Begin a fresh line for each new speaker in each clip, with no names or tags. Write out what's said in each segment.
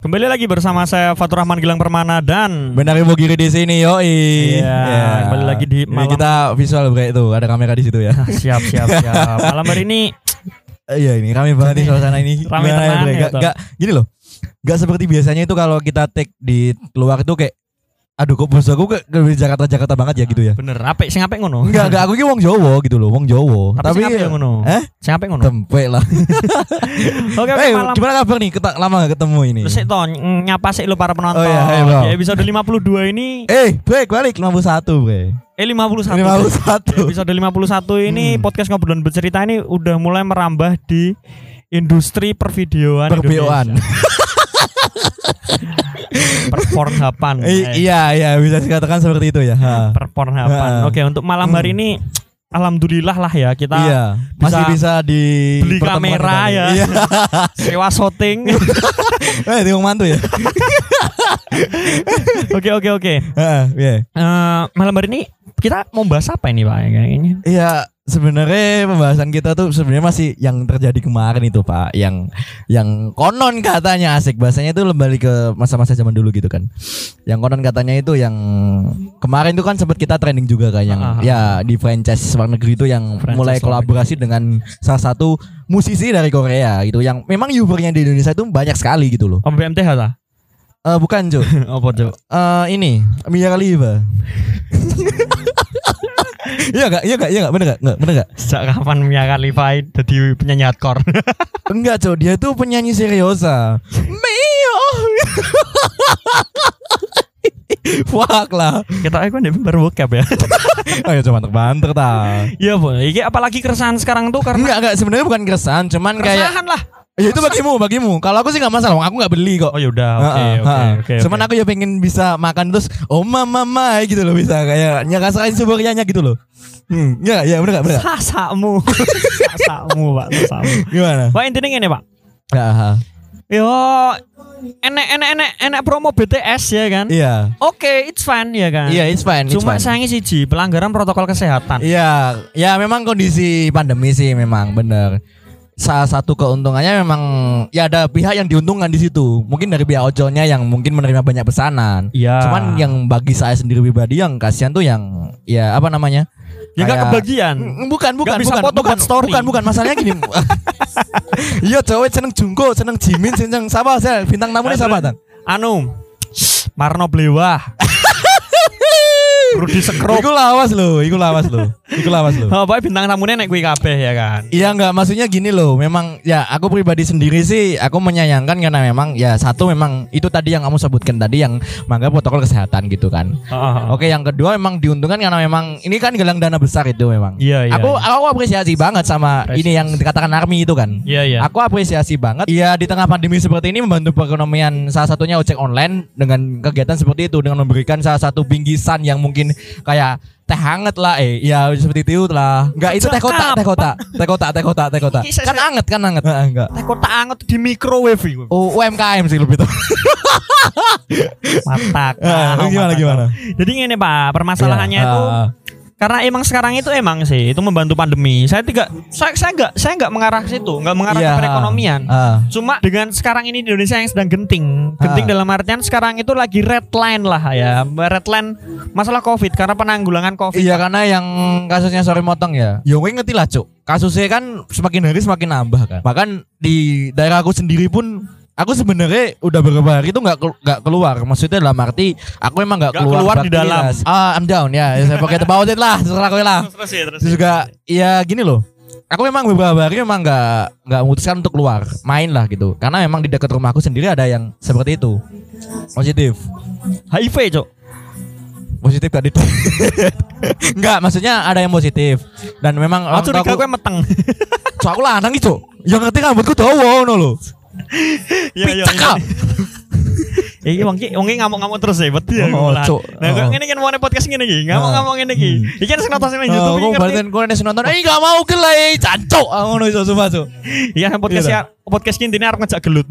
Kembali lagi bersama saya Fatur Rahman Gilang Permana dan
Benar Ibu Giri di sini, yoi.
Iya, kembali lagi di
Jadi
malam-
kita visual kayak itu, ada kamera di situ ya.
Ah, siap siap siap. Malam hari ini
Eh, Iya ini rame banget nih suasana ini.
Rame
Gimana
tenan
Bre?
ya,
Gak,
Tom.
gak- gini loh. Gak seperti biasanya itu kalau kita take di luar itu kayak aduh kok bos aku ke, ke Jakarta Jakarta banget ya gitu ya.
Nah, bener apik sing apik ngono.
Enggak, enggak aku ini wong Jawa gitu loh, wong Jawa.
Tapi sing apik ngono.
Eh?
Sing apik ngono.
Tempe lah.
Oke oke
Eh,
malam.
gimana kabar nih? Ketak lama gak ketemu ini.
Terus to ny- nyapa sih lu para penonton.
Oh iya, hai, Bro.
Di episode 52 ini
Eh, break balik 51, Bre.
eh 51.
51.
Episode 51 ini
Hmm.
podcast ngobrolan bercerita ini udah mulai merambah di industri pervideoan
Perbeoan.
Indonesia. Perpornhapan.
I-
Eh.
iya, iya bisa dikatakan seperti itu ya. Ha.
per Pornhapan.
Nah.
Oke, untuk malam hari ini alhamdulillah lah ya kita
iya, masih bisa di
beli
pertemuan
kamera
kita nih.
ya.
Iya.
sewa syuting.
Eh, di Wong mantu ya.
Oke, oke, oke.
Heeh, iya.
Eh, malam hari ini kita mau bahas apa ini Pak kayaknya?
Iya, sebenarnya pembahasan kita tuh sebenarnya masih yang terjadi kemarin itu, Pak. Yang yang konon katanya asik bahasanya itu kembali ke masa-masa zaman dulu gitu kan. Yang konon katanya itu yang kemarin tuh kan sempat kita trending juga kan yang
Ah.
ya di franchise luar negeri itu yang
Franchise
mulai
luar
kolaborasi dengan salah satu musisi dari Korea gitu yang memang usernya di Indonesia itu banyak sekali gitu loh.
Om BMTH ta?
Eh bukan, Jo.
Apa, Cuk?
Eh ini Mia Khalifa. iya gak? Iya gak? Iya gak? Bener gak? Nggak, bener gak?
Sejak kapan Mia Khalifa jadi penyanyi hardcore?
Enggak cow, dia tuh penyanyi seriosa Mio Fuck lah
kita aku ndek baru bokep ya.
Ayo cuma banter ta
Iya, Bu. Iki apalagi keresahan sekarang tuh karena
Enggak, enggak, sebenarnya bukan keresahan Cuman kayak
keresahan lah.
Ya itu bagimu, bagimu Kalau aku sih gak masalah, aku gak beli kok
Oh, yaudah. Oke,
Heeh,
oke,
heeh.
oke.
Cuman
oke.
aku ya pengen bisa makan terus Oh mama mama gitu loh bisa Kayak nyakasain sebuahnya gitu loh Hmm, ya, ya bener gak, bener gak?
sasakmu. sasakmu, Pak, sasakmu.
Gimana?
Pak intinya ngene, Pak.
Heeh.
Yo, enek enek enek enek promo BTS ya kan?
Iya
Oke, it's fine ya kan?
Iya, it's fine. it's
Cuma
fine.
sayangnya siji pelanggaran protokol kesehatan.
Iya, ya memang kondisi pandemi sih memang bener. Salah satu keuntungannya memang ya ada pihak yang diuntungkan di situ. Mungkin dari pihak ojolnya yang mungkin menerima banyak pesanan.
Iya.
Cuman yang bagi saya sendiri pribadi yang kasihan tuh yang ya apa namanya?
ya nggak
Kayak-
kebagian.
Mm, Bukan, bukan,
bisa
bukan,
foto
bukan,
buat story.
bukan, bukan. Masalahnya gini. Iya, cewek seneng Jungko, seneng Jimin, seneng siapa? Saya bintang
Nah,
tamunya siapa, Tang?
Anu, Marno Blewah. Rudi Sekrup.
Iku lawas loh, iku lawas loh. Iku lawas loh.
Oh, pokoknya bintang tamunya nek kuwi kabeh ya kan.
Iya nggak maksudnya gini loh memang ya aku pribadi sendiri sih aku menyayangkan karena memang ya satu memang itu tadi yang kamu sebutkan tadi yang mangga protokol kesehatan gitu kan
Heeh.
Oke yang kedua memang diuntungkan karena memang ini kan gelang dana besar itu memang
Iya, iya,
aku aku apresiasi banget sama
Apresiasi.
ini yang dikatakan Army itu kan
Iya, iya.
Aku apresiasi banget. Iya di tengah pandemi seperti ini membantu perekonomian salah satunya ojek online dengan kegiatan seperti itu dengan memberikan salah satu bingkisan yang mungkin kayak teh hangat lah eh ya seperti itu lah enggak itu teh kotak teh kotak teh kotak teh kotak teh kotak
Ini saya-
kan hangat kan hangat Heeh, enggak
Teh kotak anget di microwave iku.
Oh, UMKM sih lebih tuh.
Mata.
Eh, gimana, gimana?
Jadi ngene, Pak, permasalahannya
Iya,
itu
ah.
Karena emang sekarang itu emang sih itu membantu pandemi. Saya tidak saya saya nggak saya nggak mengarah ke situ, nggak mengarah
Iya,
ke perekonomian.
ah.
Cuma dengan sekarang ini di Indonesia yang sedang genting, genting
Ah.
dalam artian sekarang itu lagi red line lah ya, red line masalah COVID karena penanggulangan COVID.
Iya karena yang kasusnya sorry motong ya. Ya gue ngerti lah cuk. Kasusnya kan semakin hari semakin nambah kan. Bahkan di daerah aku sendiri pun aku sebenarnya udah beberapa hari itu nggak kelu- nggak keluar. Maksudnya dalam arti aku emang nggak
Nggak
keluar.
keluar di
beraktivitas. Ah, I'm down ya. Ya, Saya pakai about it lah, terserah kowe lah.
Terus ya, terus.
Terus juga ya gini loh. Aku memang beberapa hari memang nggak nggak memutuskan untuk keluar, main lah gitu. Karena memang di dekat rumahku sendiri ada yang seperti itu. Positif
HIV, Cok.
positif gak di Enggak, maksudnya ada yang positif dan memang
eh, Aku
orang tua
curiga
Ah, aku,
gue meteng.
so aku lanang
gitu.
itu. Yang Ya ngerti kan, rambutku dawa ngono lho.
Iya, iya.
Picaka.
Iki Iya, wong ki wong ki ngamuk-ngamuk terus ya, wedi ya.
Oh,
malahan.
Cok.
Nah, gue
Oh. Ah.
ngene kan mau podcast ngene iki, ngamuk-ngamuk ngene iki. Iki kan sing nonton sing nang
Oh,
YouTube iki
aku
ngerti.
balikan kowe nek nonton, "Eh, gak mau kelai, cancok." Ah, Ngono iso sumpah, Cuk.
Iya, podcast
Iya,
ya, podcast ini intinya harus ngejak gelut.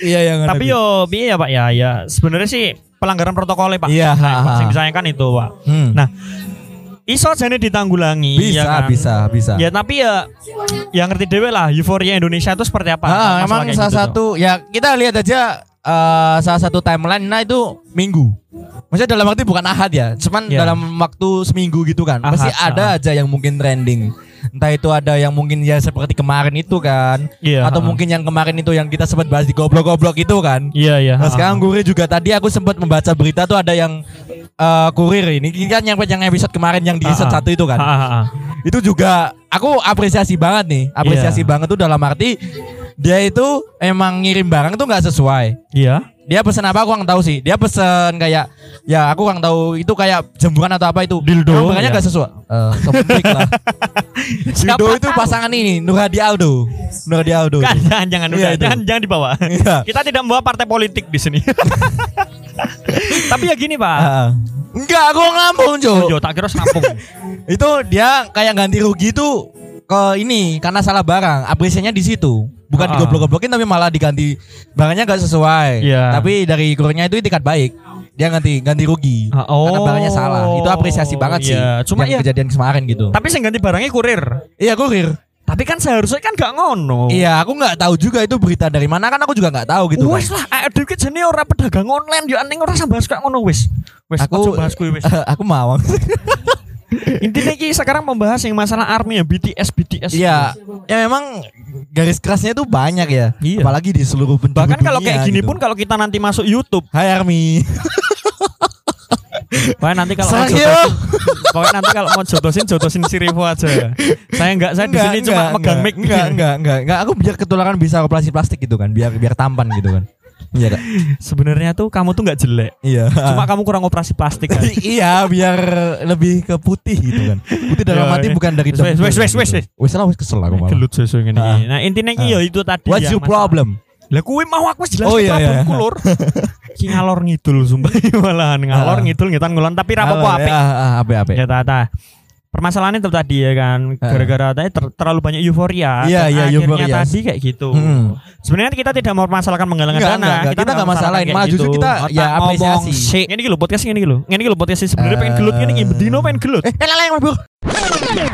Iya, iya ngono.
Tapi yo, piye ya Pak ya, ya sebenarnya sih pelanggaran protokolnya Pak.
Iya,
Nah,
ha, ha.
yang disayangkan itu Pak.
Hmm.
Nah, iso jane ditanggulangi.
bisa,
ya kan?
bisa, bisa.
Ya tapi ya, ya ngerti dewe lah euforia Indonesia itu seperti apa.
Ah,
masalah
emang
kayak
salah
gitu tuh.
satu ya kita lihat aja eh, salah satu timeline nah itu minggu. Maksudnya dalam waktu bukan ahad ya, cuman
Ya.
dalam waktu seminggu gitu kan.
Ahad, ah.
Pasti ada aja yang mungkin trending. Entah itu ada yang mungkin ya seperti kemarin itu kan,
Iya,
atau
ha-ha.
mungkin yang kemarin itu yang kita sempat bahas di goblok-goblok itu kan.
Iya iya.
Nah
ha-ha.
sekarang kurir juga tadi aku sempat membaca berita tuh ada yang eh, kurir ini kan yang yang episode kemarin yang di episode
Ah, ah.
satu itu kan.
Ha, ha, ha.
Itu juga aku apresiasi banget nih, apresiasi
Iya.
banget tuh dalam arti dia itu emang ngirim barang tuh nggak sesuai.
Iya.
Dia pesen apa aku nggak tahu sih. Dia pesen kayak ya aku nggak tahu itu kayak jemuran atau apa itu.
Dildo,
Emang barangnya
ya.
nggak sesuai. Eh, kepenting lah. Dildo itu pasangan ini Nurhadi Aldo. Nurhadi Aldo.
Kan, jangan jangan
Iya,
udah,
itu.
jangan jangan dibawa.
Iya.
Kita tidak membawa partai politik di sini. Tapi ya gini
Ah,
pak.
ah. Enggak, aku ngambung, Jo.
Jo, tak kira serampung.
itu dia kayak ganti rugi tuh ke ini karena salah barang apresiasinya di situ bukan
Ah.
digoblok-goblokin tapi malah diganti barangnya gak sesuai
Iya.
tapi dari kurnya itu itikat baik dia ganti ganti rugi
Ah, oh.
karena barangnya salah itu apresiasi banget sih
Iya, cuma
yang
iya.
kejadian kemarin gitu
Tapi yang ganti barangnya kurir.
iya kurir
Tapi kan seharusnya kan gak ngono.
iya aku nggak tahu juga itu berita dari mana kan aku juga nggak tahu gitu kan.
wis lah, ayo dikit jenis ora pedagang online yo aneh ora sambas kok ngono wis. Wis aku
aku
bahas kuwi wis.
aku mawang
Intinya iki sekarang membahas yang masalah army ya BTS BTS.
iya ya memang garis kerasnya tuh banyak ya
Iya.
apalagi di seluruh penjuru
Bahkan kalau
dunia
kayak gini
gitu.
pun kalau kita nanti masuk YouTube,
Hai Army
wah nanti kalau mau
Sorry,
jodosin, pokoknya nanti kalau mau jodosin jodosin si Revo aja. Saya enggak saya di
Enggak,
sini
enggak,
cuma megang
enggak,
mic.
Enggak, enggak, enggak, enggak. Aku biar ketularan bisa operasi plastik gitu kan, biar biar tampan gitu kan. Iya, Kak.
Sebenarnya tuh kamu tuh enggak jelek.
iya.
Cuma kamu kurang operasi plastik kan.
iya, biar lebih ke putih gitu kan. Putih dalam
Iya,
hati
iya.
bukan dari
Wes, wes, wes, wes, wes.
Wes lah, wes kesel aku malah.
Gelut susu ngene
Ah.
iki. Nah, intinya iki
Ah.
ya itu tadi
What's
ya,
your
Mas.
problem?
Lah kuwi mau aku wis jelas
Oh,
oh,
iya, iya.
problemku lur. Ki ngalor ngidul sumpah malahan ngalor
Ah.
ngidul ngitan ngulon tapi ra apa
Halo,
apik.
ya, ah, ah, apik, apik.
Ya tata. Permasalahannya itu tadi ya kan
Ah.
gara-gara tadi ter- terlalu banyak euforia.
Iya,
dan
iya,
akhirnya
euforia.
tadi kayak gitu.
Hmm.
Sebenarnya kan kita tidak mau masalahkan menggalangan
Enggak,
dana.
enggak, enggak. Kita nggak masalahin, malah justru kita, ya,
gitu. ngomong
apresiasi. Ah.
shit. Ngene iki lho podcast ngene iki lho. Ngene iki lho podcast sebenarnya pengen gelut ngene iki bedino pengen gelut.
Eh, elah, elah, elah, bro.